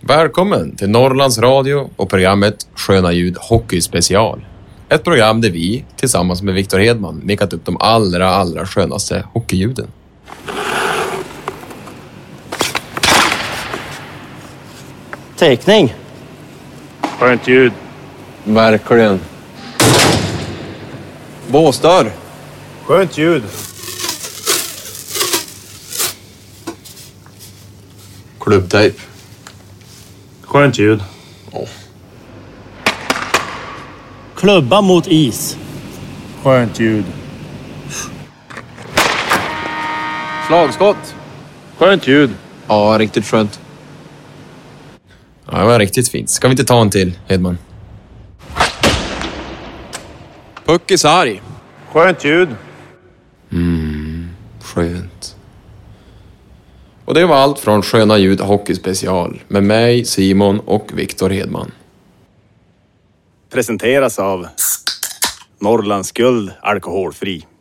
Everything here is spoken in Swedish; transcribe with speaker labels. Speaker 1: Välkommen till Norrlands Radio och programmet Sköna ljud hockey special. Ett program där vi tillsammans med Viktor Hedman mekat upp de allra, allra skönaste hockeyljuden.
Speaker 2: Teckning.
Speaker 3: Skönt ljud.
Speaker 4: Verkligen. Båsdörr.
Speaker 3: Skönt ljud.
Speaker 4: Klubbtejp.
Speaker 3: Skönt ljud.
Speaker 2: Klubba mot is.
Speaker 3: Skönt ljud.
Speaker 4: Slagskott.
Speaker 3: Skönt ljud.
Speaker 4: Ja, riktigt skönt.
Speaker 1: Ja, det var riktigt fint. Ska vi inte ta en till, Hedman?
Speaker 4: Puck i sarg.
Speaker 3: Skönt ljud.
Speaker 1: Skönt. Och det var allt från Sköna ljud hockey special med mig, Simon och Viktor Hedman.
Speaker 5: presenteras av Norrlands Guld Alkoholfri.